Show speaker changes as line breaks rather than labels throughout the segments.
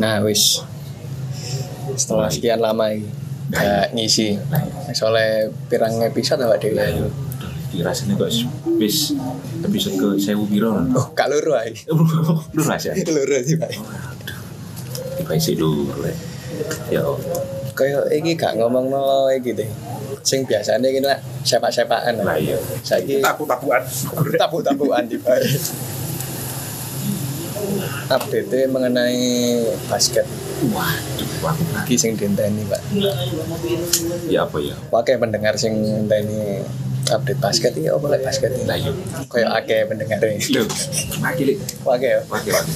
Nah, wis. Setelah sekian lama iki gak ngisi. Soalnya pirang episode awak dhewe.
Ayo, dirasanya kok bis episode ke sewu ya? biro kan.
Oh, gak loro ae.
Lu rasa?
Loro sih, Pak.
Tiba isi dulu. le. Ya,
Kayak iki gak ngomongno iki deh. Sing biasanya iki lah sepak-sepakan.
lah iya.
Saiki
Tapu-tapuan.
tabu-tabuan di bae. Update mengenai basket
Waduh, aku
iki sing dinteni, Pak.
Ya apa ya?
Wakai pendengar sing ngenteni update basket iki apa lek basket iki?
Lah iya.
Kayak akeh pendengar e. iki.
Lu, mati lek.
Wakai ya.
Mati mati.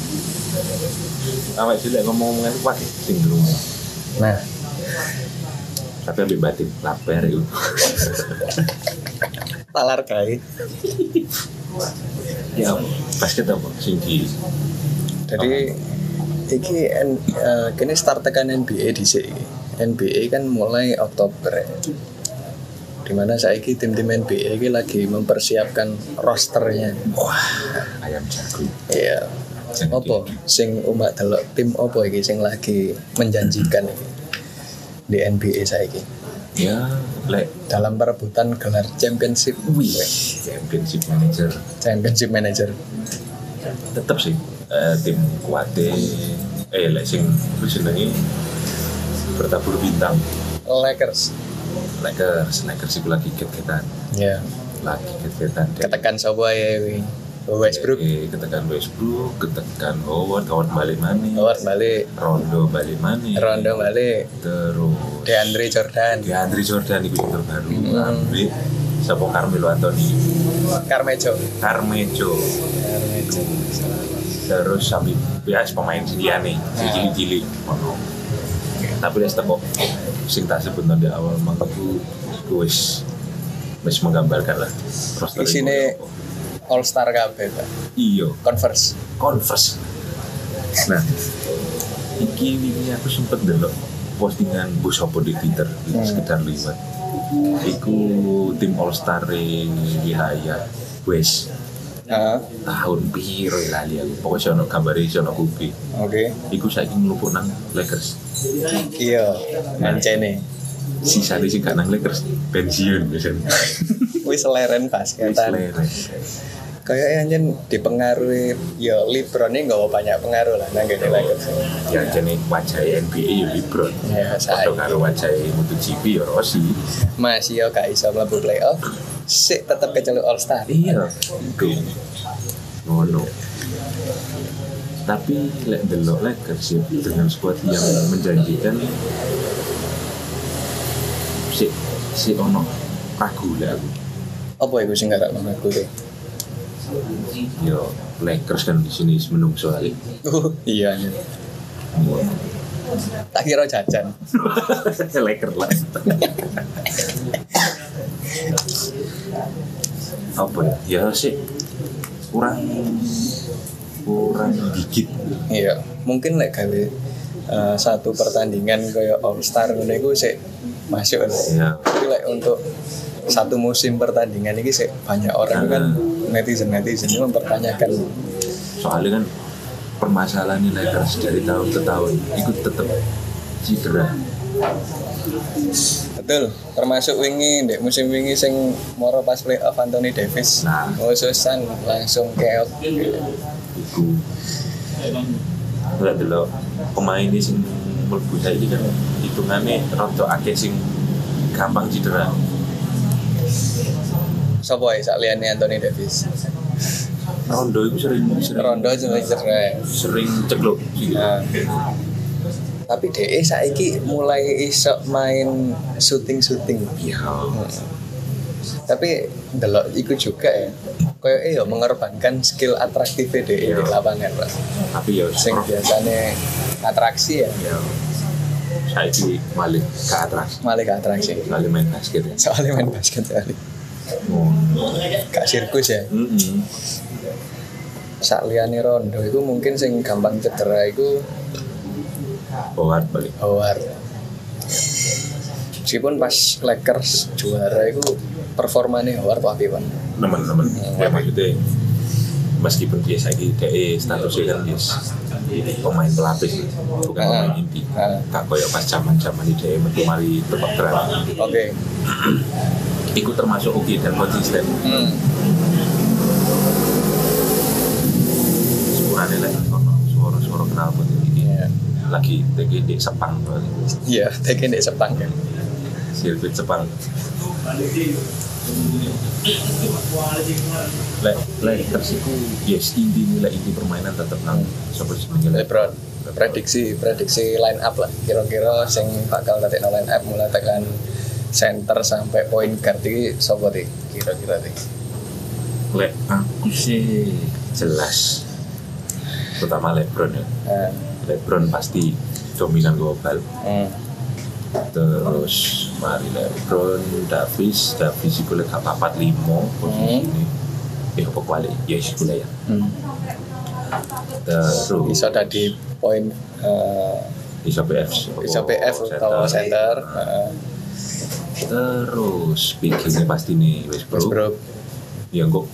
Awak sudah ngomong ngomongin kuat ya, sing dulu.
Nah,
Tapi ambil batin lapar itu.
talar kae.
Ya, apa? basket apa? Sing di
Jadi iki en, eh, kini start tekan NBA di sini. NBA kan mulai Oktober. Ya. Dimana saya tim-tim NBA iki lagi mempersiapkan rosternya.
ayam jago.
Iya.
Sing
Apa? Sing umat delok tim apa iki sing lagi menjanjikan iki di NBA saiki
di- Ya, lek.
dalam perebutan gelar championship
Wih, championship manager.
championship manager
tetap sih eh, tim kuate eh lek sing lu senengi bertabur bintang
Lakers
Lakers Lakers itu lagi ket-ketan
ya
lagi ket-ketan
ketekan sapa ya kuwi? Westbrook
Eh, ketekan Westbrook ketekan Howard Howard balik mana
Howard balik
Rondo balik mana
Rondo balik
terus
DeAndre Hmm. Jordan
DeAndre Jordan itu yang terbaru ambil Sapa Carmelo Anthony
Carmejo
Carmejo terus sambil ya pemain sedia nih cili cili tapi dia kok sing tak sebut di awal mangku iku wis wis menggambarkan lah roster
Di sini-
iku.
All Star kabeh Pak.
iya
Converse
converse nah iki ini aku sempet delok postingan Bu Sopo di Twitter di sekitar liwat iku tim All Star Yahya Wes
ah
tahun piro ya lali aku pokoknya ono gambare ono kubi
oke
iku saiki ngelupuk nang Lakers
iya mancene
sisa di sing gak nang Lakers pensiun biasanya
wis leren basketan Kayaknya anjen dipengaruhi ya LeBron ini nggak banyak pengaruh lah nang gini Lakers.
ya jadi wajah NBA ya LeBron
Ya, saya
atau karo wajah MotoGP ya Rossi
masih ya gak iso mlebu playoff. Sik tetep keceluk All Star.
iya itu ngono tapi lek delok Lakers ya dengan squad yang menjanjikan si si ono ragu lah aku
Apa iku sing gak ngono aku tuh?
yo Lakers kan di sini menung soalnya
iya anjen. Tak kira jajan.
Laker lah. Apa ya? Ya sih kurang kurang dikit.
Iya, mungkin lek gawe eh, satu pertandingan kayak All Star ngono iku sik masuk.
Ya.
Tapi lek untuk satu musim pertandingan ini sik banyak orang kan netizen netizen mempertanyakan
Soalnya kan permasalahan Lakers dari tahun ke tahun ikut tetap cedera.
Betul, termasuk wingi dek musim wingi sing moro pas playoff Anthony Davis.
Nah.
Khususan langsung keok.
Iku nggak dulu pemain ini sing mlebu saiki kan hitungannya rotok akeh sing gampang cedera.
Sopo ae sak liyane Anthony Davis.
Rondo itu sering sering
Rondo jenenge cerai.
sering ceklok sih.
Nah. Tapi DE saiki mulai iso main syuting-syuting.
Ya,
Tapi delok iku juga ya. Kayak eh yo mengorbankan skill atraktif DE di lapangan, Pak.
tapi ya
Sing
roh-
biasanya atraksi ya,
ya saya itu malah ke atas
malah gak atraksi.
malah main basket ya
Soalnya main basket kali. Gak sirkus ya.
Mm-mm.
sakliyane rondo itu mungkin sing gampang cedera itu
Howard balik
Howard meskipun pas Lakers juara itu performane Howard wapi kan
teman-teman ya maksudnya meskipun dia saiki dhek statusnya kan yes pemain pelapis bukan
Ah.
pemain inti
Ah.
tak koyo pas zaman-zaman dhek metu mari berperan
Oke.
iku termasuk oke dan konsisten
Hmm.
suarane lagi ono suara-suara kenal pun iki
Iya.
lagi lagi di Sepang
Iya, tekin di Sepang kan.
sirkuit Sepang lek lek tersiku yes inti nilai inti permainan tetap nang seperti sebenarnya
Lebron. Prediksi, prediksi line up lah. Kira-kira sing bakal nanti line up mulai tekan center sampai point guard iki sapa iki? Kira-kira iki.
lek aku sih jelas terutama Lebron ya
Nah.
Lebron pasti dominan global
Hmm.
terus mari Lebron Davis Davis itu lek gak papat limo posisi ini ya apa kuali ya sih kuliah ya
Hmm.
terus
Bisa tadi poin eh,
bisa PF
bisa PF atau Oh, center. Heeh.
terus pikirnya pasti nih Westbrook
Westbrook.
yang gue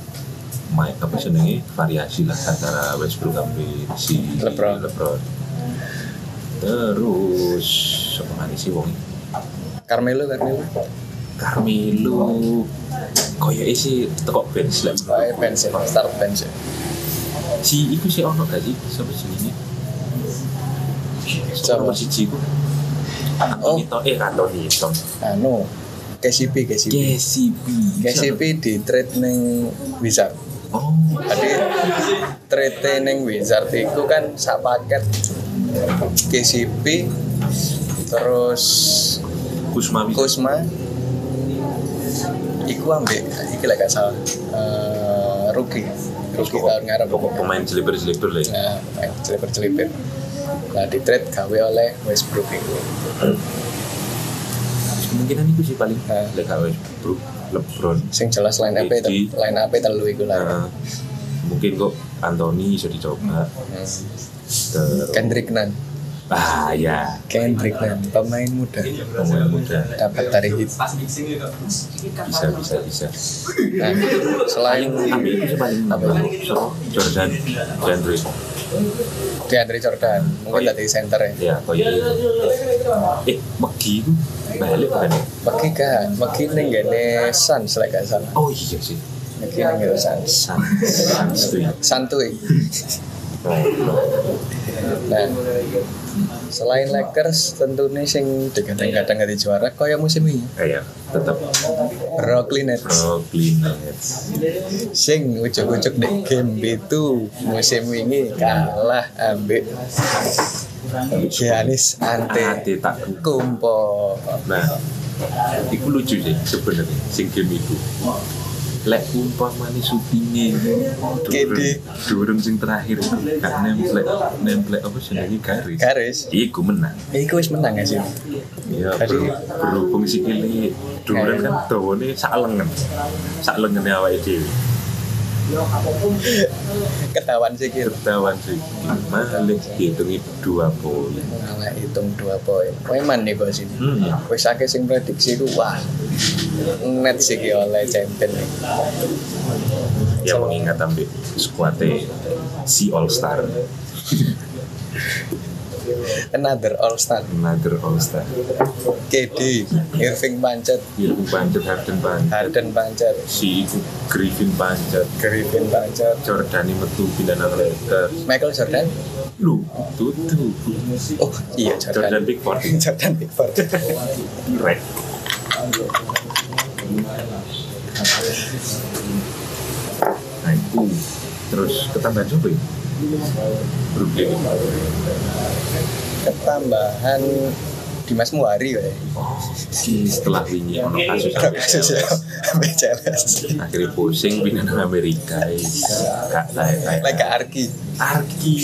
main apa senengnya variasi lah antara Westbrook sampai si
LeBron.
terus apa mana sih wong
Carmelo, Carmelo.
Carmelo ya, eh, koyo isi tekok bench lah
Wae bench, ya, start bench. ya.
si iku sih ono gak sih sampai sini
Siapa? Oh.
sama si Ciku Anthony Tom eh Anthony Tom
Anu, KCP, KCP.
KCP
KCP di trade neng Wizard.
oh
Jadi trade neng Wizard itu kan sak paket KCP terus
Kusma bisa
Kusma iku ambek iki lek gak salah eh, rookie rookie tahun ngarep
pokok pemain seliper seliper lah ya.
nah celipir celipir nah di trade gawe oleh Westbrook itu
Ya, kemungkinan itu sih paling
Ah.
lek kalau Westbrook LeBron
sing jelas line up
Jadi-
line up telu iku lah
Nah, mungkin kok Anthony bisa dicoba
Hmm.
terus
Kendrick Nunn
ah ya
Kendrick Nunn pemain muda
pemain muda
dapat dari hit
bisa bisa bisa
nah, selain
tapi itu sih paling nambah so Jordan Jordan Reed.
di Andre Jordan mungkin dari center ya
ya koyo eh Megi itu balik kan ya?
Megi kan Megi ning gene Suns lek gak salah
oh iya sih
Megi ning gene Suns
Sans Sans tuh ya.
Santuy
Oh, no.
nah selain Lakers tentunya sing digadang-gadang dari juara kaya musim ini
Eh, ya eh, tetap
Brooklyn Nets
Brooklyn Nets
sing ujuk-ujuk di game itu musim ini kalah ambek Giannis Ante
Ante tak
Kumpo
Nah, itu lucu sih sebenarnya sing game itu. Lek umpamane supine
Kedi.
durung sing terakhir itu gak nemplek nemplek apa jenenge garis.
garis
Iku menang.
Iku wis menang gak sih?
Ya,
Jadi-
beru- berhubung sikile durung kan dawane sak lengen. Sak lengene awake dhewe.
Ketahuan sih gitu.
Ketawan sih malik dihitungi dua poin.
Malah Nah, hitung dua poin. Preman nih bos ini.
Hmm.
Wis akeh sing prediksi ku wah. Net sih ki oleh champion nih.
Ya mengingat ambil skuadnya si All Star,
Another All Star.
another All Star.
KD, Irving pancet,
Ya, Banjir Harden Banjir.
Harden pancet,
si Griffin panjat
Griffin pancet,
Jordani metu pindahan Lakers
Michael Jordan.
lu tutu
Oh iya Jordan.
Jordan Pickford
Jordan Pickford.
Red nah itu terus ketambahan coba ya Brooklyn
Ketambahan Dimas Muhari ya.
oh, setelah ini ono kasus
Kalau kasus ya,
ABS.
sampai jelas.
akhirnya pusing pindah nang Amerika Iya, guys kak
Lek
layak
gak Arki.
Arki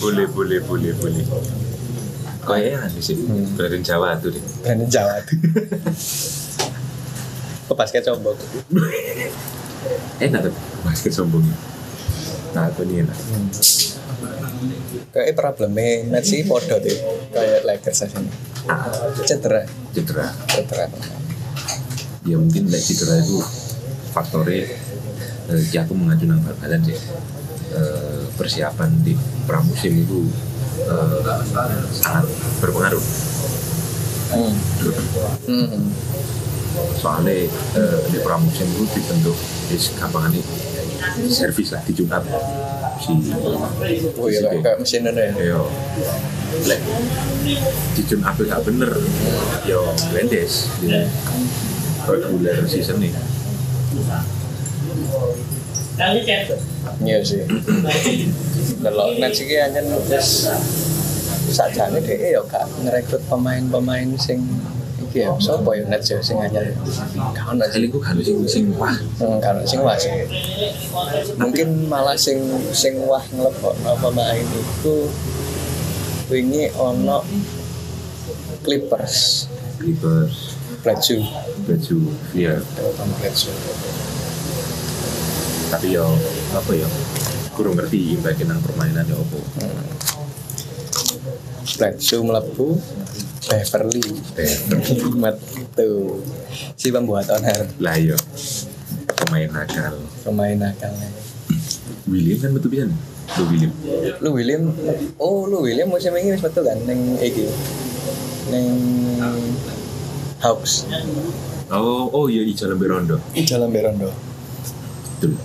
boleh boleh boleh boleh kayaknya aneh sih
Hmm.
Brandon Jawa tuh deh
Berani Jawa tuh. Ke basket combok.
enak tuh basket sombongnya nah itu nih enak
Kayak problemnya match sih podo tuh. Kayak Lakers aja nih.
ah,
Cedera,
cedera
cedera.
ya mungkin lek cedera itu faktornya eh, iki aku mengacu nang bal-balan sih Eh, persiapan di pramusim itu eh, sangat berpengaruh
Hmm. Hmm.
soalnya eh, di pramusim itu dibentuk is gampangan ini servis lah dijumat si
Oh iya,
si-
kayak mesin ada ya.
yo lek dicun apel gak bener yo glendes yo regular season nih
Iya sih. Kalau net sih hanya nulis sajane deh ya gak ngerekrut pemain-pemain sing iki ya sapa ya net sih sing hanya gak ono sih.
kali gue kalau sing sing wah
Hmm, kalau sing wah sih. Mungkin malah sing sing wah ngelebok pemain itu wingi ono Clippers
Clippers
Bledsoe
baju ya
terutama Bledsoe.
tapi yo apa ya kurang ngerti impact nang permainan ya opo
Bledsoe melebu Beverly metu si pembuat owner
lah yo pemain nakal
pemain nakalnya
William kan betul pisan lo William
lu William oh lu William musim ini wis metu kan neng iki neng Hawks
oh oh iya Ijo Lembe Rondo
dalam Berondo
betul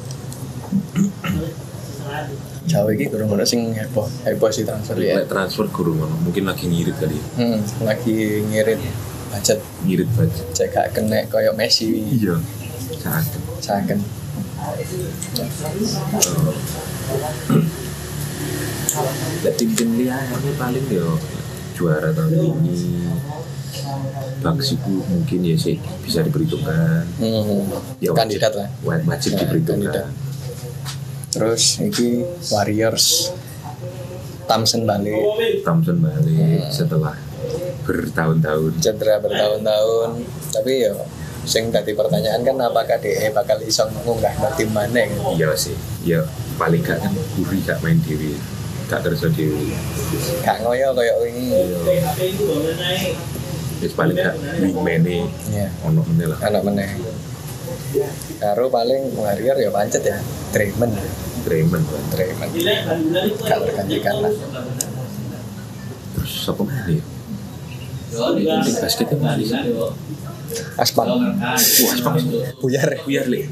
jauh iki kurang ono sing heboh heboh si transfer ya
Lek transfer kurang ono. mungkin lagi ngirit kali ya.
hmm, lagi ngirit budget
ngirit baju
cek gak kena koyo Messi
iya Eh. saat
saken
Lah tim-tim liane paling yo juara tahun ini. Baksi ku mungkin ya sih bisa diperhitungkan.
hmm.
Ya, wajib.
kandidat lah
Wajib,
Ya,
wajib
kandidat.
diperhitungkan.
terus iki Warriors Thompson balik
Thompson
Eh.
balik setelah bertahun-tahun.
cedera bertahun-tahun tapi yo sing tadi pertanyaan kan apakah DE bakal iso ngunggah ke tim mana gitu.
Iya sih. Ya paling gak kan Curry gak main diri, gak kerja diri.
gak ngoyo kaya ini
Terus Iya. paling gak wingman-nya
ya
ono meneh lah
anak meneh karo paling warrior ya pancet ya Draymond
Draymond kan.
Draymond gak tergantikan lah
Terus siapa meneh? ya? Ini basketnya meneh.
Aspang
Wah, Spang.
buyar
Biar le.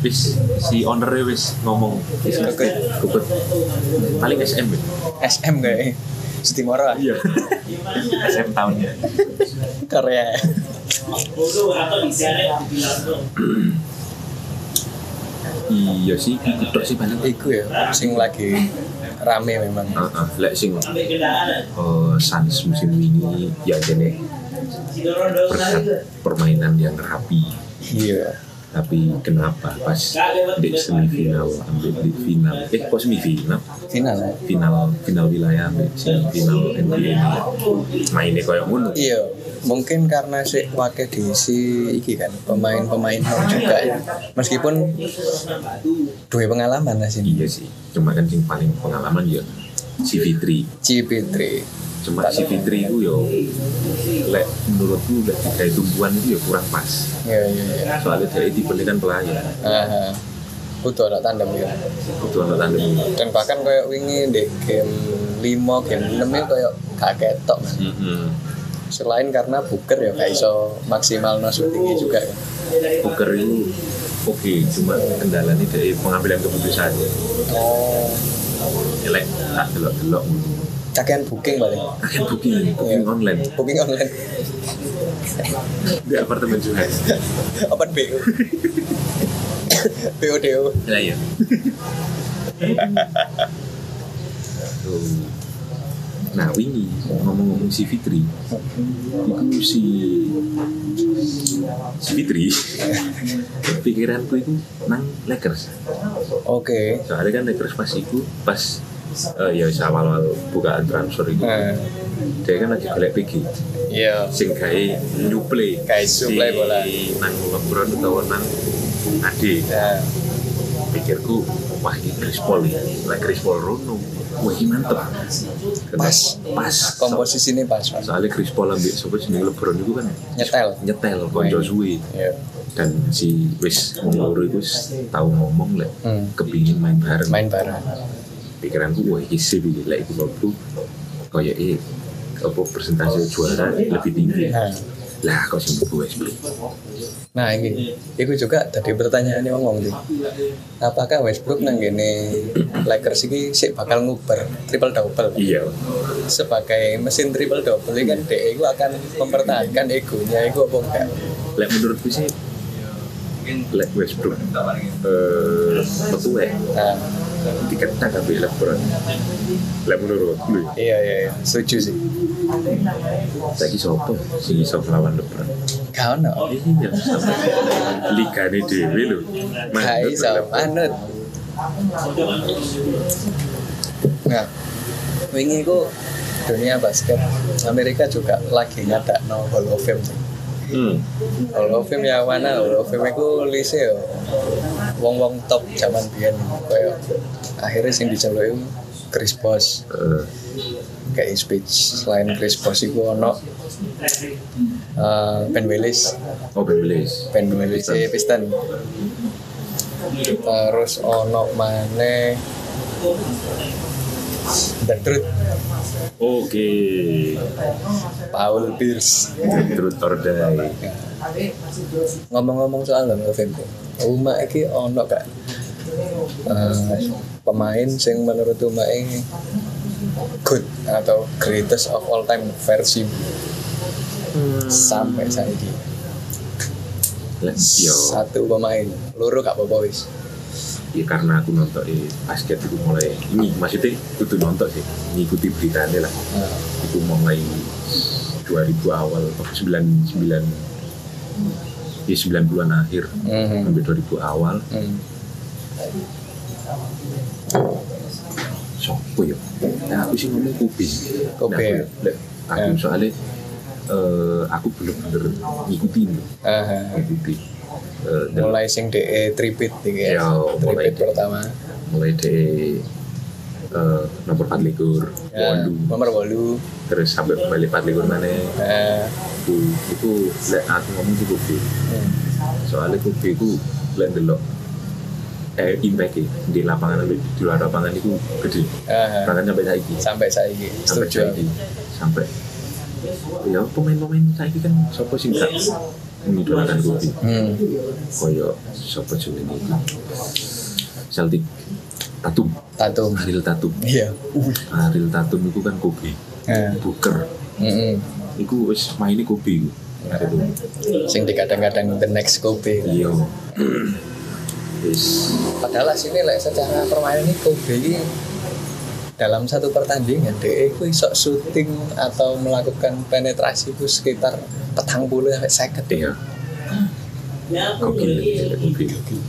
Wis si ownernya wis ngomong wis
Kekut.
kukut. Paling SM. ya?
SM kayak Stimoro ah
Iya. SM tahunnya.
Korea
Iya sih, kutok sih paling. Eh,
iku ya sing lagi rame memang
ah, ah, lek sing eh, Suns musim ini ya jene per- permainan yang rapi.
iya
Tapi kenapa pas di semifinal ambil di final eh kok semifinal
final ya?
final final wilayah ambil semifinal NBA ini mainnya kayak ngono
Iya, mungkin karena si wakil diisi iki kan pemain-pemain nom juga ya. Meskipun dua pengalaman lah sini.
Iya sih, cuma kan sing paling pengalaman ya si Fitri.
Cipitri.
Cuma si Fitri itu yo lek menurutku lek kayak tumbuhan itu ya kurang pas.
Iya iya iya.
Soalnya dia dibelikan pelayan
Aha. Butuh anak tandem ya.
untuk anak tandem.
Dan bahkan kayak wingi di game 5, game 6 itu kayak gak ketok. Mas.
Mm-mm.
Selain karena buker ya gak iso maksimal no shootingnya juga. kan.
Poker itu oke, cuma kendalanya dari pengambilan keputusan.
Oh,
Ya, Lek tak delok-delok ngono.
cakean booking paling.
Akhirnya booking, booking
Iya.
online
Booking online.
di apartemen juga.
Open BO. BO DO.
Lah ya. Tuh. Nah, wingi ngomong-ngomong si Fitri, itu si si Fitri pikiranku itu nang Lakers
Oke.
soalnya kan Lakers pas iku pas eh, ya wis awal-awal bukaan transfer itu
Nah,
dia kan lagi golek PG
iya.
sing gawe nyuplai
Gawe nyuplai bola.
si nang LeBron atau nang Ade
Nah,
pikirku wah ini Chris Paul ya like Chris Paul Rono wah ini mantep Karena
Pas.
pas
komposisi ini pas
soalnya Chris Paul ambil sobat jeneng LeBron itu kan
Nyetel.
nyetel konco
Main.
suwi
Iya.
dan si wis wong loro iku wis tau ngomong lek
Hmm.
kepingin main bareng
main bareng
pikiranku wah iki sih iki lek iku mlebu koyoke apa persentase juara lebih tinggi
nah
lah kok sing mlebu wis mlebu
nah ini itu juga tadi pertanyaannya ngomong tuh apakah Westbrook nang gini Lakers ini sih bakal nguber triple double
iya
sebagai mesin triple double ini kan DE itu akan mempertahankan egonya itu apa enggak
lek menurutku sih lek Westbrook eh metu wae
nah
diketak kabeh LeBron lek menurutku lho
iya iya, iya. setuju sih
ya, saiki sapa sing iso melawan LeBron
gak ono
iya sampai ligane dhewe lho
gak
Manut
iso
LeBron.
manut nah wingi itu dunia basket Amerika juga lagi ngadak no Hall of Fame sih.
hmm.
Hall of Fame ya mana Hall of Fame itu lise yo wong-wong top zaman biyen koyo akhirnya sing dijaluk itu Chris Bosh
Eh,
kayak speech selain Chris Bosh itu ono eh, Ben Willis
oh Ben Willis
Ben Willis e Piston terus ono mana The Truth
oke
Paul Pierce
terus Tordai
ngomong-ngomong soal Hall of Fame Uma iki ono gak eh, pemain sing menurut Uma ini good atau greatest of all time versi sampai saat ini
Lek, yo
satu pemain loro gak apa-apa wis
ya karena aku nonton eh, basket itu mulai ini maksudnya kudu nonton sih ngikuti beritanya lah
Nah,
itu mulai 2000 awal apa, 99 ya 90-an akhir
mhm,
sampai 2000 awal
mhm.
sopo ya nah aku sih ngomong kubing
Kobe,
nah, aku,
ya?
lek, aku
Ya.
soalnya eh, aku bener-bener ngikutin
Aha.
ngikutin Eh, dan
mulai sing DE tripit gitu ya
Ya, mulai
tripit
DE.
pertama
mulai dari eh, nomor 4 likur
Ya,
Wondu
nomor walu
terus sampai balik 4 likur mana
eh,
aku itu lek aku ngomong sih kopi
hmm.
soalnya kopi itu lek delok eh impact di lapangan sampai di luar lapangan itu gede
Aha.
bahkan sampai saiki
Ya, sampai saya ini
sampai
setuju
saiki sampai ya pemain-pemain saiki kan siapa sih gak mengidolakan kopi
hmm.
koyo siapa jenenge itu Celtic Tatum
tatum
Ariel Tatum
iya
Ariel Tatum itu kan kopi
Eh,
Booker
mm-mm.
itu wis mainnya kopi itu Ariel
sing di kadang-kadang the next Kobe
Iya. Wis.
padahal sini like, secara permainan ini Kobe ini dalam satu pertandingan DE ku iso syuting atau melakukan penetrasi ku sekitar petang puluh sampai seket
Iya. Gokil, gokil, gokil.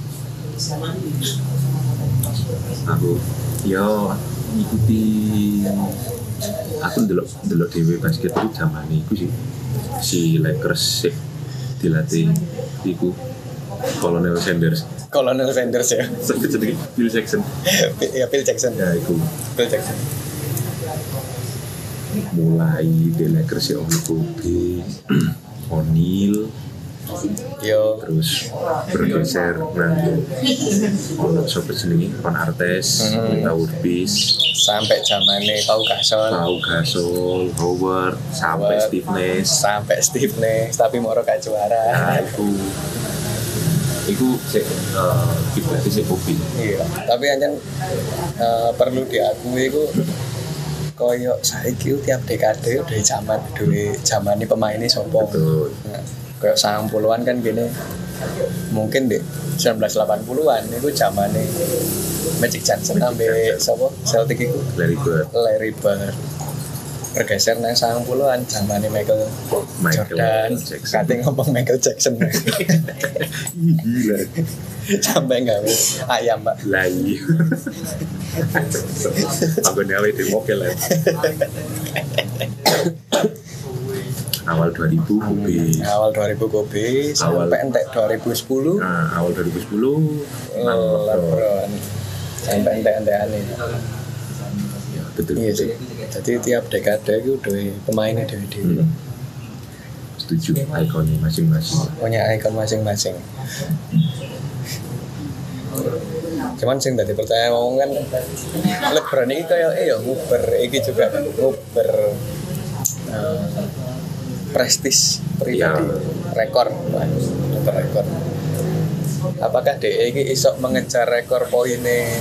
Aku yo ngikuti aku ndelok ndelok dhewe basket itu zaman iku sih. Si Lakers sih dilatih iku Colonel Sanders.
Colonel Sanders ya
Sampai jadi Bill Jackson.
ya Phil Jackson
Ya iku
Phil Jackson
mulai di Lakers sih ono Kobe, O'Neal,
yo
terus bergeser nang ono sapa jenenge Ron Artes,
Hmm.
Mita Urbis,
sampai zamane Pau Gasol
Pau Gasol, Howard, sampai
Howard.
Steve Nash.
sampai Steve Nash tapi moro gak juara
Nah, iku iku sik eh, kiblatnya sik kopi.
Iya, tapi anjen eh, perlu diakui ku koyo saiki ku tiap dekade udah zaman duwe zamane pemaine sapa.
Betul.
Nah, Koyo 90-an kan gini. Mungkin di 1980-an itu zamane Magic Johnson ambe sapa Celtic iku
Larry Bird,
Larry Bird bergeser nang 90-an zamane Michael,
Michael
Jordan
Jackson.
kate ngomong Michael Jackson
Ih, gila.
sampai gawe ayam Pak
Lah iya. Aku nyawa itu mokel lah. Awal 2000 kopi.
awal 2000 Kobe
Awal.
sampai entek 2010
Nah, awal 2010 nang
Oh,
Lebron.
LeBron eh, sampai entek entekan ini
Ya, betul.
iya
betul.
sih jadi tiap dekade itu dua pemainnya dua dua
Hmm. tujuh ikonnya masing-masing
punya ikon masing-masing cuman sing tadi percaya ngomong kan Lebron ini kayak eh ya nguber ini juga nguber eh, prestis pribadi
Ya.
rekor Wah, nguber rekor apakah DE ini iso mengejar rekor poinnya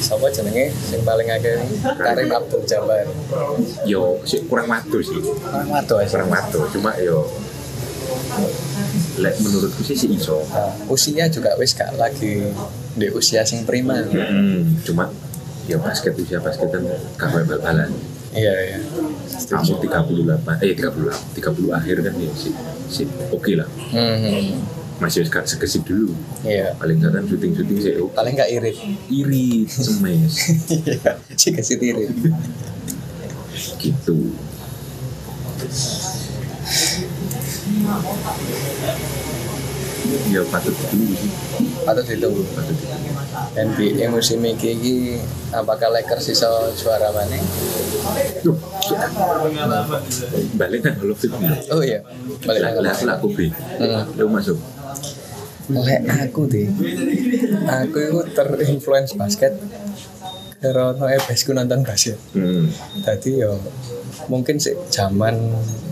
siapa jenenge sing paling akeh ini? Karim Abdul Jabbar
yo sih kurang matu sih
orang waduh
kurang matu cuma yo lek menurutku sih sih iso
usia Nah, juga wis gak lagi di usia sing prima
Mm, cuma ya basket usia basket kan kafe bal-balan
iya iya
kamu 38 eh 38 30 akhir kan ya sih sih oke lah
Hmm,
masih harus gak sekesit dulu
iya
paling nggak kan syuting syuting sih oh,
paling gak irit
iri semes
iya sih kasih irit
gitu ya patut dulu sih
atau ditunggu
patut ditunggu.
NBA musim ini iki apakah Lakers iso juara mana
Duh, ya. balik kan lo fit nih
oh iya balik
lah
lagi
lah lah, aku bi
Hmm.
lo masuk
lek aku deh aku itu terinfluence basket karena ebesku nonton basket
hmm.
tadi yo mungkin sih zaman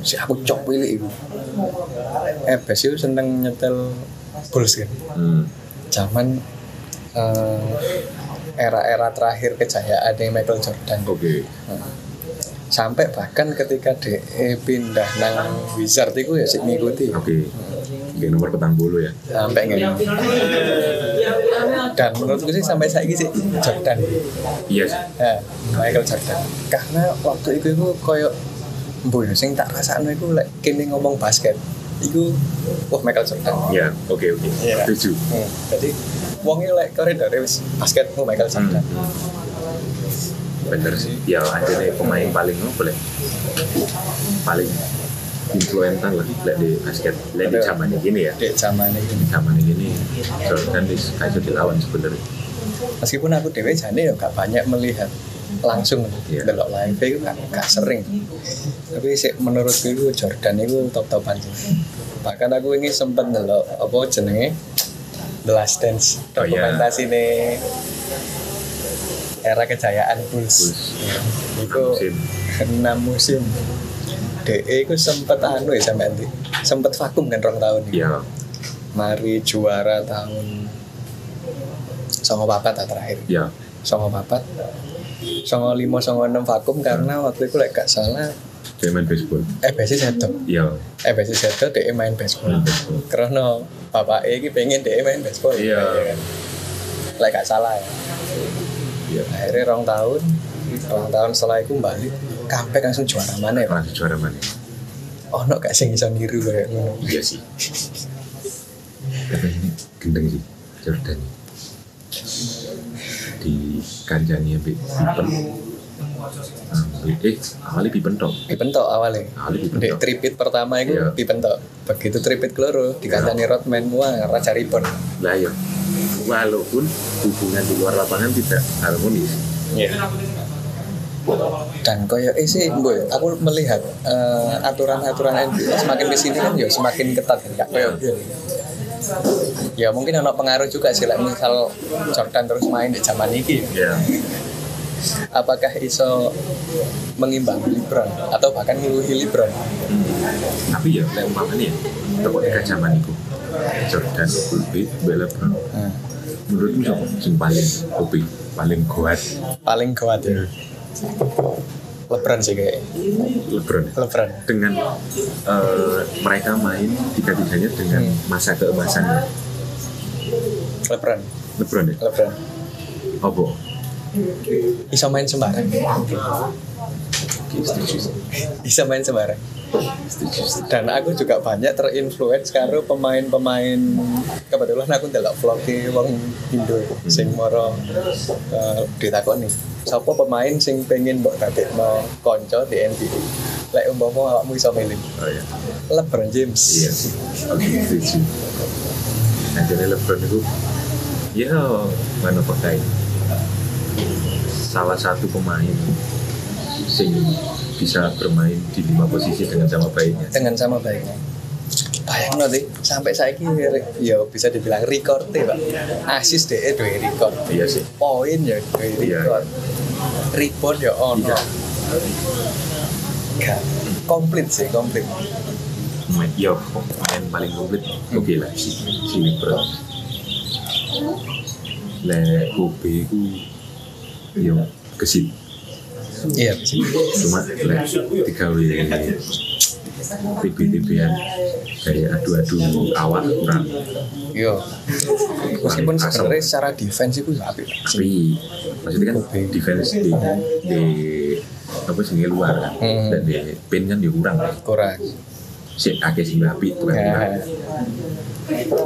si aku cok pilih itu ebes itu seneng nyetel Bulls kan
Hmm.
zaman eh, era-era terakhir kejayaan yang Michael Jordan
oke
sampai bahkan ketika DE pindah nang Wizard itu ya sih ngikuti
oke oke nomor petang bulu ya
sampai ngene. Dan menurutku sih sampai saat ini sih Jordan,
iya sih
ya, Michael Jordan. Karena waktu itu itu koyo mbo ya, sing tak rasakno iku lek kene ngomong basket, iku wah Michael Jordan.
ya oke oke
Iya.
setuju
Hmm, jadi wong iki lek koridor wis basket ku Michael Jordan.
Hmm. bener sih ya aja nih pemain paling boleh paling influentan lah lek di basket lek di
Betul.
zaman gini ya
Dek zaman ini.
zaman gini Jordan is kayak dilawan sebenarnya
Meskipun aku dewe jane ya gak banyak melihat langsung
Iya.
delok live itu gak, gak sering. Tapi sih menurutku itu Jordan itu top-topan sih. Bahkan aku ini sempet delok apa jenenge The Last Dance
Oh, iya.
dokumentasi nih era kejayaan Bulls.
Bulls.
Iya. Itu
Enam musim.
enam musim. DE itu sempet anu ya sampe nanti sempet vakum kan rong tahun ini.
ya
Mari juara tahun songo papat tak terakhir
ya
songo papat songo lima songo enam vakum karena waktu itu lek gak salah eh,
dia main baseball
EBC sedo
ya
EBC sedo Eh, dia main
main
baseball
baseball
karena bapak E ini pengen dia main baseball
Iya.
Ya kan? lek gak salah ya
ya
akhirnya rong tahun rong tahun setelah itu balik comeback langsung juara mana ya
langsung juara mana
oh no gak sing iso niru kayak ngono
iya sih tapi ini gendeng sih Jordan di kanjani ambil pipen Ambil- eh awalnya pipen tok
dipentok awalnya
awalnya pipen
Dek
tok
tripit pertama itu
Iya.
dipentok. Begitu tripit keloro dikatani Rodman wah raja ribon.
Nah, ya. Walaupun hubungan di luar lapangan tidak harmonis.
Dan koyo eh sih boy, aku melihat eh, aturan-aturan NBA semakin kesini kan ya semakin ketat kan Kak? Koyo biyen. Ya mungkin ada pengaruh juga sih like, misal Jordan terus main di zaman ini ya.
Ya.
Apakah iso mengimbangi LeBron atau bahkan ngeluhi LeBron?
Tapi ya, lek umpamanya ya, toko tiga zaman itu. Jordan, Kobe, Bella Brown.
Hmm.
Menurutmu siapa yang paling Kobe, paling kuat
Paling kuat ya. LeBron sih kayaknya.
LeBron?
LeBron.
Dengan eh, mereka main tiga-tiganya dengan
Hmm.
masa keemasannya
LeBron.
LeBron ya?
LeBron.
Apa?
Iso main sembarang.
Oke, setuju.
bisa main sembarang
Setuju. setuju.
dan aku juga banyak terinfluence karo pemain-pemain kebetulan aku ndelok vlog wong Indo sing moro uh, ditakoni sapa pemain sing pengen mbok dadekno kanca di NBA lek umpama awakmu iso milih
Oh ya.
LeBron James
Iya. Oke, setuju. Nah, jadi LeBron itu ya mana pakai salah satu pemain sing bisa bermain di lima posisi dengan sama baiknya.
dengan sama baiknya bayang nanti sampai saya ini ya bisa dibilang record ya pak asis deh dua record
Iya sih.
poin ya dua
Iya.
record rebound ya ono
Iya.
Gak. komplit sih komplit
Main, ya, main paling komplit. Oke lah si si Libra. Le Kobe ku ya kesit.
iya sih.
Cuma le tiga W tipe-tipean kayak adu-adu awak kurang
iya meskipun
Asem.
sebenarnya secara defense itu apik sih
tapi maksudnya kan
Kobe.
defense di, di apa sih di luar kan
Hmm.
dan di pin kan ya kurang
kurang
si akeh sing rapi itu kan
Ya.
itu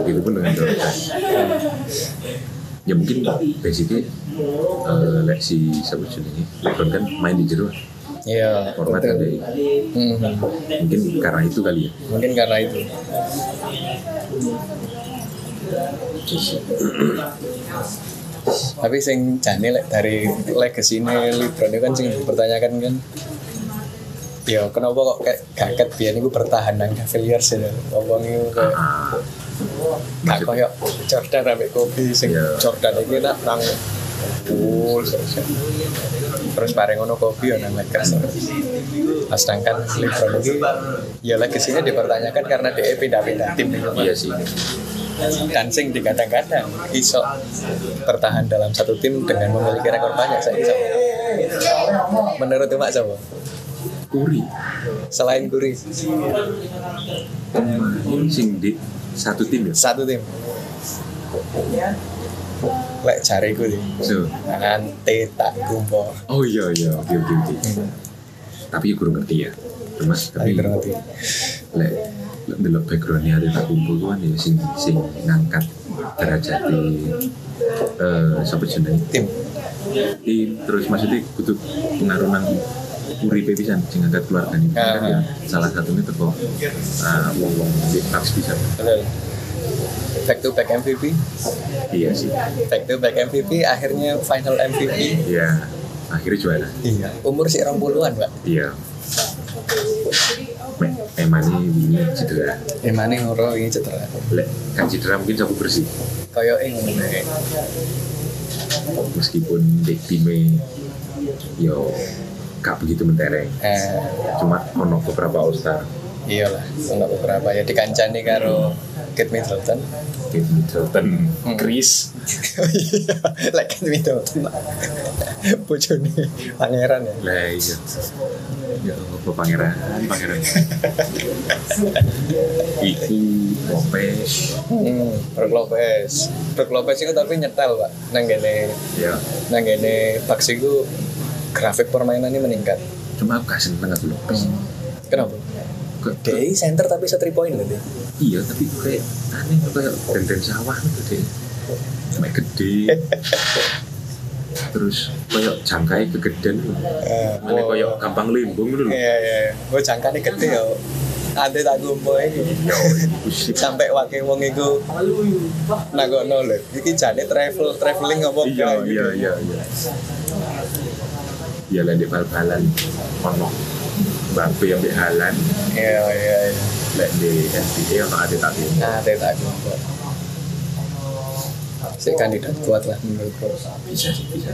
Gitu pun dengan Jordan ya mungkin basicnya eh lek si siapa jenenge Lebron kan main di jero
iya
format kan
betul.
dari
Hmm,
mungkin karena itu kali ya
mungkin karena itu tapi sing jane lek dari legacy ini Libron itu kan sing dipertanyakan kan ya kenapa kok kayak gaket biar niku bertahan nang Cavaliers ya ngomong itu kayak
ah
gak
maksud-
koyo Jordan ambek Kobe sing
Iya.
Jordan iki nak nang Bulls terus bareng ngono Kobe ya nang Lakers Nah, sedangkan Lebron ini ya legacy dipertanyakan karena dia pindah-pindah tim gitu, Pak
iya sih
dancing di kadang-kadang iso bertahan dalam satu tim dengan memiliki rekor banyak saya iso menurut Mak siapa?
Kuri
selain Kuri
pemain sing di satu tim ya
satu tim lek jari Kuri
so
nanti tak kumpo
oh iya iya oke oke oke tapi ya kurang ngerti ya cuma
tapi
tapi
berarti
lek lek delok backgroundnya ada tak kumpul tuan ya sing sing ngangkat derajat eh sapa jenenge
tim
tim terus maksudnya kudu pengaruh nang uripe pisan sing ngangkat keluarga ini kan ya salah satunya teko eh wong wong di tax pisan
betul back to back MVP
iya sih
back to back MVP akhirnya final MVP
iya akhirnya juara
iya umur sih orang puluhan pak
iya Me- emangnya ini cedera
emane ngoro ini cedera
lek kan cedera mungkin aku bersih
koyo ing
meskipun di timnya yo gak begitu mentereng
eh
cuma ono beberapa all star
iyalah untuk beberapa ya dikancani karo Kate Middleton
Kate Middleton
Hmm.
Chris
lek Iya. Kate Middleton bojone pangeran ya
lah iya ya apa pangeran pangeran Iku Lopez
hmm, Brook Lopez Brook Lopez itu tapi nyetel pak nang gene
ya
nang gene Bucks iku grafik permainannya meningkat
cuma aku gak seneng aku Lopez
kenapa?
Kok-
DI center tapi bisa 3 point berarti
iya tapi kayak aneh kayak denden sawah gitu deh Mek gede terus kayak jangkai kegedean
Eh,
mana kayak gampang limbung gitu loh
iya iya gue jangkane gede ya ante tak gumpo iki
ya pusing
sampai wakil wong iku nagono lho iki jane travel traveling apa
iya
enggak
iya iya iya iya lah di bal-balan ono Mbappe yang di Halan
iya iya iya
lek di NBA ono ada tapi
nah tidak aku si kandidat kuat lah menurutku
bisa sih bisa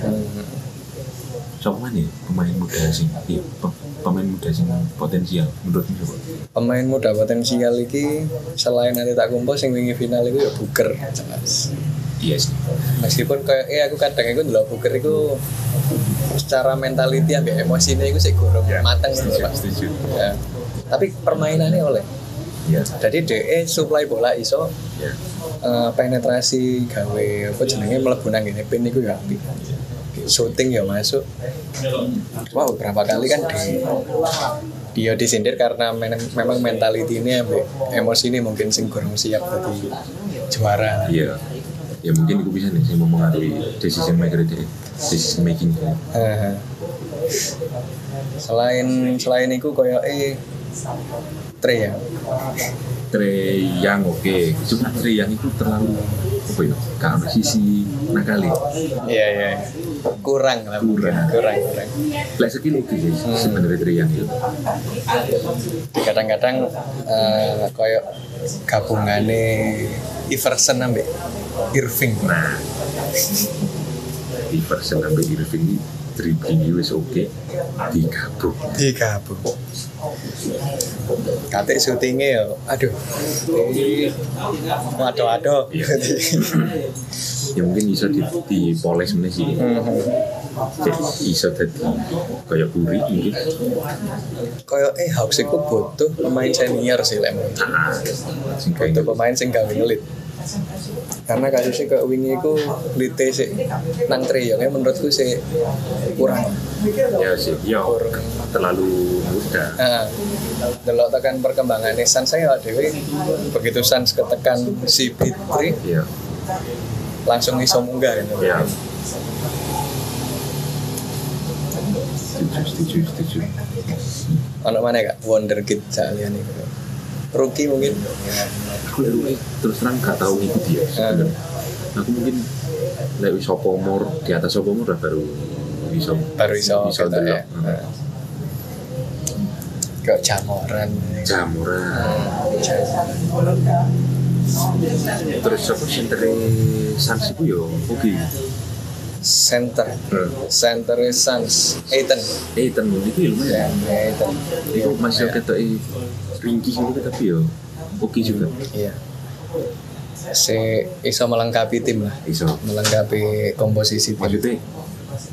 siapa mana ya pemain muda sing iya pe- pemain muda sing potensial menurutmu siapa
pemain muda potensial iki selain nanti tak kumpul sing wingi final itu ya buker jelas
iya sih
meskipun kayak eh aku kadang iku ndelok buker iku secara mentality ambek emosine iku sik gurung
Ya,
mateng gitu
setuju
Pak.
setuju
Ya. tapi permainannya oleh
iya
jadi DE supply bola iso
iya
eh, penetrasi gawe apa jenenge mlebu nang ngene pin niku ya apik. Shooting ya masuk. Wow, berapa kali kan di dia disindir karena men- memang mentality ini ambek emosi ini mungkin sing kurang siap tadi juara.
iya ya mungkin aku bisa nih sih mempengaruhi decision maker dia decision making dia.
Eh, selain selain itu koyo eh Tre ya.
Trey Young oke cuma Trey Young itu terlalu apa ya karena sisi ya. nakali
Iya iya. Kurang lah mungkin.
Kurang.
Kurang kurang.
lek sekilo iki sih sebenarnya Triang itu
Kadang-kadang eh koyo gabungane Iverson ambek Irving.
nah di version sampai Irving ini Dribbling ini wis oke digabung
digabung katik syutingnya ya aduh waduh waduh
Iya. ya mungkin iso di, dipoles meneh sih
Hmm.
Cek iso dadi kayak buri mungkin
koyo eh Hawks itu butuh pemain senior sih lem
nah sing kayak
butuh
gitu.
pemain sing gawe ngelit karena kasusnya ke wingi ku lite sih nang treyongnya menurutku sih kurang
ya sih ya
kurang
terlalu muda
Nah, delok tekan perkembangan Suns saya dewe begitu Suns ketekan si Pitri
ya
langsung iso munggah gitu.
ya setuju setuju setuju
Ono mana kak Wonderkid kalian itu Rookie mungkin
aku lihat Rui, terus terang gak tahu ngikuti
Eh,
ya sebenarnya. aku mungkin lek wis apa umur di atas apa umur lah baru bisa
baru iso
bisa Eh.
kita ya
delok Hmm.
Nah. kayak jamoran
jamuran
Jam-
terus aku sentere sanksi ku ya, yo oke
center center Suns Aiton
eh ten
ya
itu lumayan
Aiton
itu masih
Ya.
oke tuh eh ringkih gitu tapi yo oke juga
iya si iso melengkapi tim lah
iso
melengkapi komposisi tim
maksudnya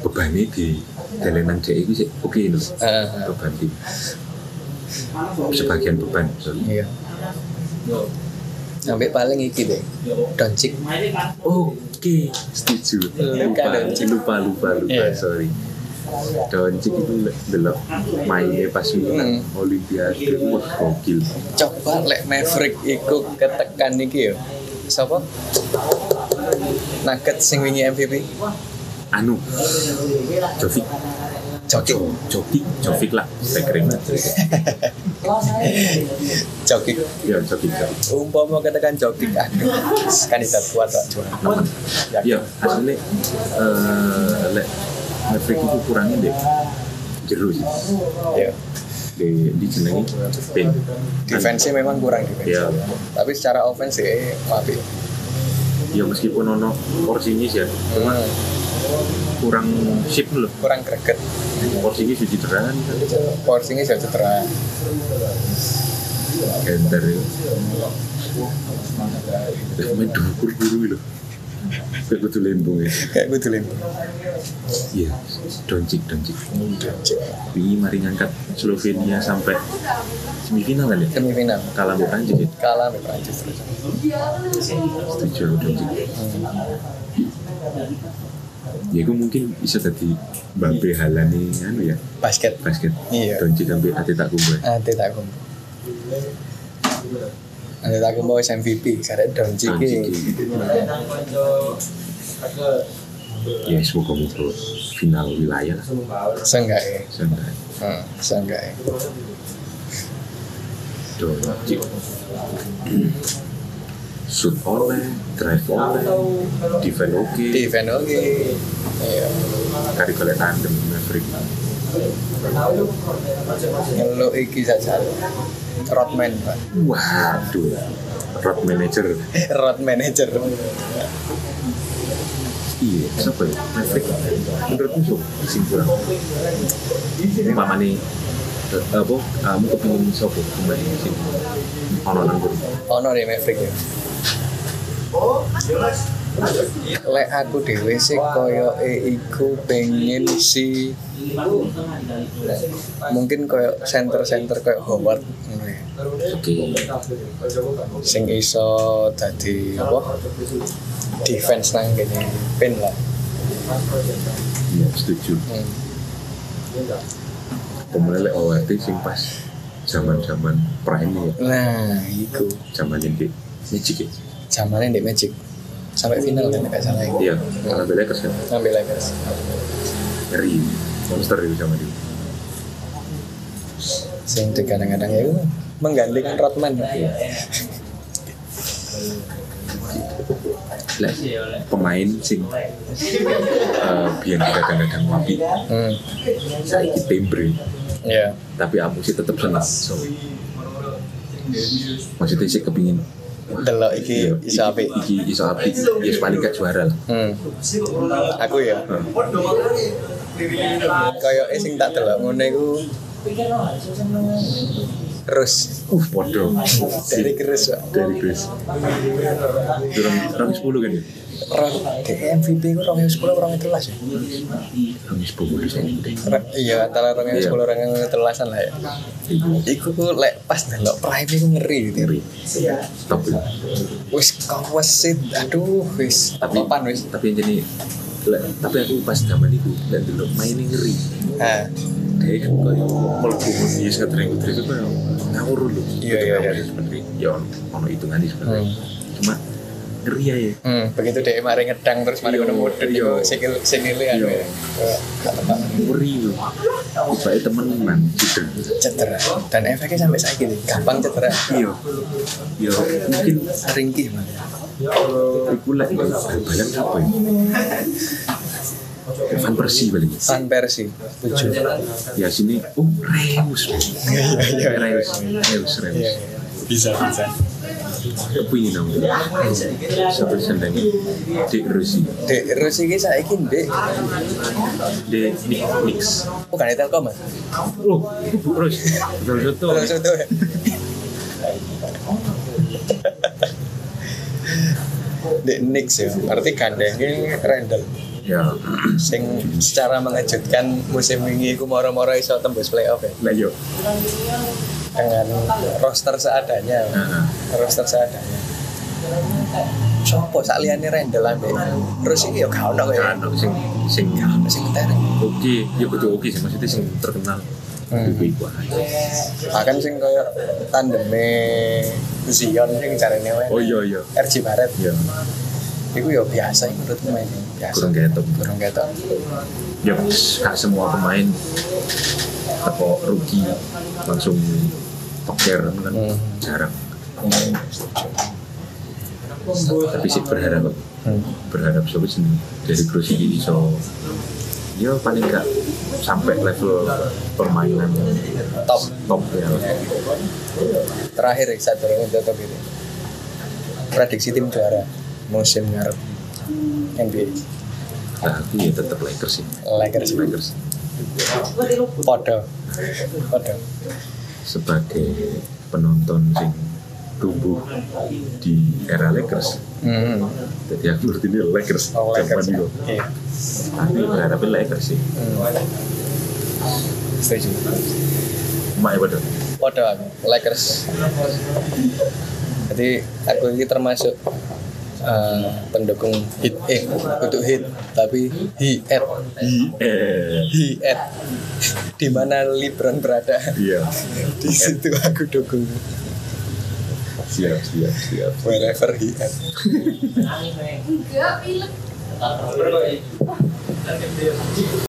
bebannya di jalanan dia itu sih oke lho
Eh,
beban tim sebagian beban sorry.
iya sampai paling iki deh Doncic
Oke, setuju.
Lupa,
Lupa, lupa, lupa, lupa,
Iya.
sorry. Doncic itu delok mainnya pas menang Olimpiade, wah gokil.
coba lek Maverick iku ketekan iki yo siapa Nugget sing wingi MVP
Anu, Jovic,
Jokic
Jo- Jovic, Jovic lah, saya keren banget.
Jokic
Ya, Jovic, Jovic.
umpama katakan Jokic aduh kandidat kuat Pak Juan
Aman. Ya, aslinya eh, lek Maverick itu kurangnya deh jeru sih.
ya
Di, di jenengi Ben.
defense memang kurang defense
Ya,
tapi secara offense sih maaf ya.
ya meskipun ono porsinya sih ya, cuma kurang ship loh.
kurang greget
porsinya cuci terang
forcingnya jauh cedera
enter ya Eh, main dukur biru loh kayak kudu lembung ya
kayak gue dulu
iya doncik doncik ini mari ngangkat Slovenia sampai semifinal kan ya
semifinal
kalah sama Prancis ya
kalah sama Prancis terus
setuju aku doncik ya itu mungkin bisa tadi Mbappe Halani anu ya
basket
basket
Iya.
doncik sampai hati tak kumpul
nanti tak kumpu nanti tak kumpu wis MVP karena Doncic ini
ya semoga moga final wilayah lah
seenggaknya
Sendai
hmm, seenggaknya
Doncic shoot oleh drive oleh defend oke
di event oke iya
kari golek tandem Maverick
ngeluk iki saja road man pak
waduh road manager
road manager
iya siapa ya Maverick menurutmu so sing kurang mama nih Eh, apa Ah, kamu kepingin sopo kembali sing ono nanggur
ono deh Oh, Maverick ya lek aku dhewe sih koyo iku pengen si mungkin koyo center-center koyo Howard ngono ya.
oke
sing iso dadi apa defense nang kene pin lah
iya setuju
Hmm.
pemelek ORT sing pas zaman zaman prime ya
nah iku
zaman yang di Magic ya
zamane di Magic sampai final kan gak salah ya
iya karena beda kan
ngambil Lakers
ngeri monster itu sama dia
sing di kadang-kadang ya iku menggantikan Rodman Pak.
lah pemain sing eh biyen kadang-kadang wapi
Hmm.
saya timbre
Ya.
tapi aku sih tetap senang so, maksudnya sih kepingin
Delok iki
iya,
iso apik.
iki iso apik ya paling gak juara lah
Hmm. Aku ya. Kayak sing tak delok ngono iku Terus
uh podo
dari keris Pak.
dari Chris Durung rong 10 kan ya
Rong DK MVP ku 2010 2013 ya.
rong 10 wis ngene
Ra- Iya antara 2010 2013 lah ya. Iku ku lek pas delok prime iku ngeri gitu.
ngeri top ya.
Wis kawasit aduh wis
tapi
papan wis.
tapi jadi lek- tapi aku pas zaman itu lek dulu main ngeri
Nah,
dia kan kayak melebu di sekadar yang itu kan ngawur dulu
Iya, iya, iya.
sebenarnya ya ono ono hitungannya sebenarnya
Hmm.
cuma ngeri ya ya
hmm, begitu dia mari ngedang terus mari
Iya,
ngono mudun
iya.
iku sikil sikile anu
Iya.
ya. Eh, gak tepat.
ngeri yo kupake temen man gitu
cedera dan efeknya sampai saya gini gampang cedera
iya iya mungkin
ringkih Mas.
aku lek bal-balan apa ya Evan Persi paling
Van Persie tujuh
ya sini oh Reus
Iya,
Reus Reus Reus
bisa bisa
kepingin dong sampai sendangnya di Rusi
Dek Rus ini saya ingin Dek
di Nick Nix
bukan di Telkom Mas
oh Bu Rus Rus itu
Belum contoh ya Dek Nix ya berarti gandengnya Randall
ya
sing secara mengejutkan musim ini ku moro-moro iso tembus playoff ya
lah yo
dengan roster seadanya
Heeh.
roster seadanya Sopo sak liyane Randall ambek Rus ini ya gak ono ya
kan sing sing ya,
sing tereng
oke ya kudu oke sih maksudnya sing terkenal
Hmm.
lebih baik
Bahkan sing kaya tandeme Zion sing carane wae.
oh iya iya
RJ Barret
ya
iku ya biasa iku menurutku main biasa.
kurang ketok
Kurang ketok.
ya pss, gak semua pemain teko rugi langsung toker kan
Hmm.
jarang tapi sih berharap berharap sobat sendiri dari Cruz ini so ya paling gak sampai level permainan
Top
top ya
terakhir ya satu orang itu top ini. Prediksi tim juara musim ngarep NBA
nah aku ya tetap Lakers sih
Lakers
Lakers
podo podo
sebagai penonton sing tumbuh di era Lakers
hmm.
jadi aku menurut ini Lakers
oh Lakers
Zaman itu.
iya
aku berharapin Lakers sih
Hmm. setuju
Mak ya padahal.
podo aku Lakers jadi aku ini termasuk eh, pendukung hit eh untuk hit tapi he at Iya.
eh
he at di mana LeBron berada
iya
di situ aku dukung
siap siap siap
wherever he at
Enggak, pilek.